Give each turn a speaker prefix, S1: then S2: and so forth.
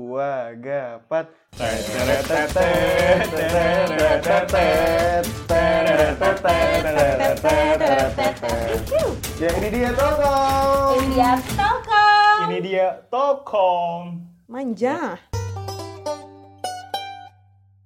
S1: dua, gapat. Ya ini dia toko.
S2: Ini dia Telkom.
S1: Ini dia toko.
S3: Manja.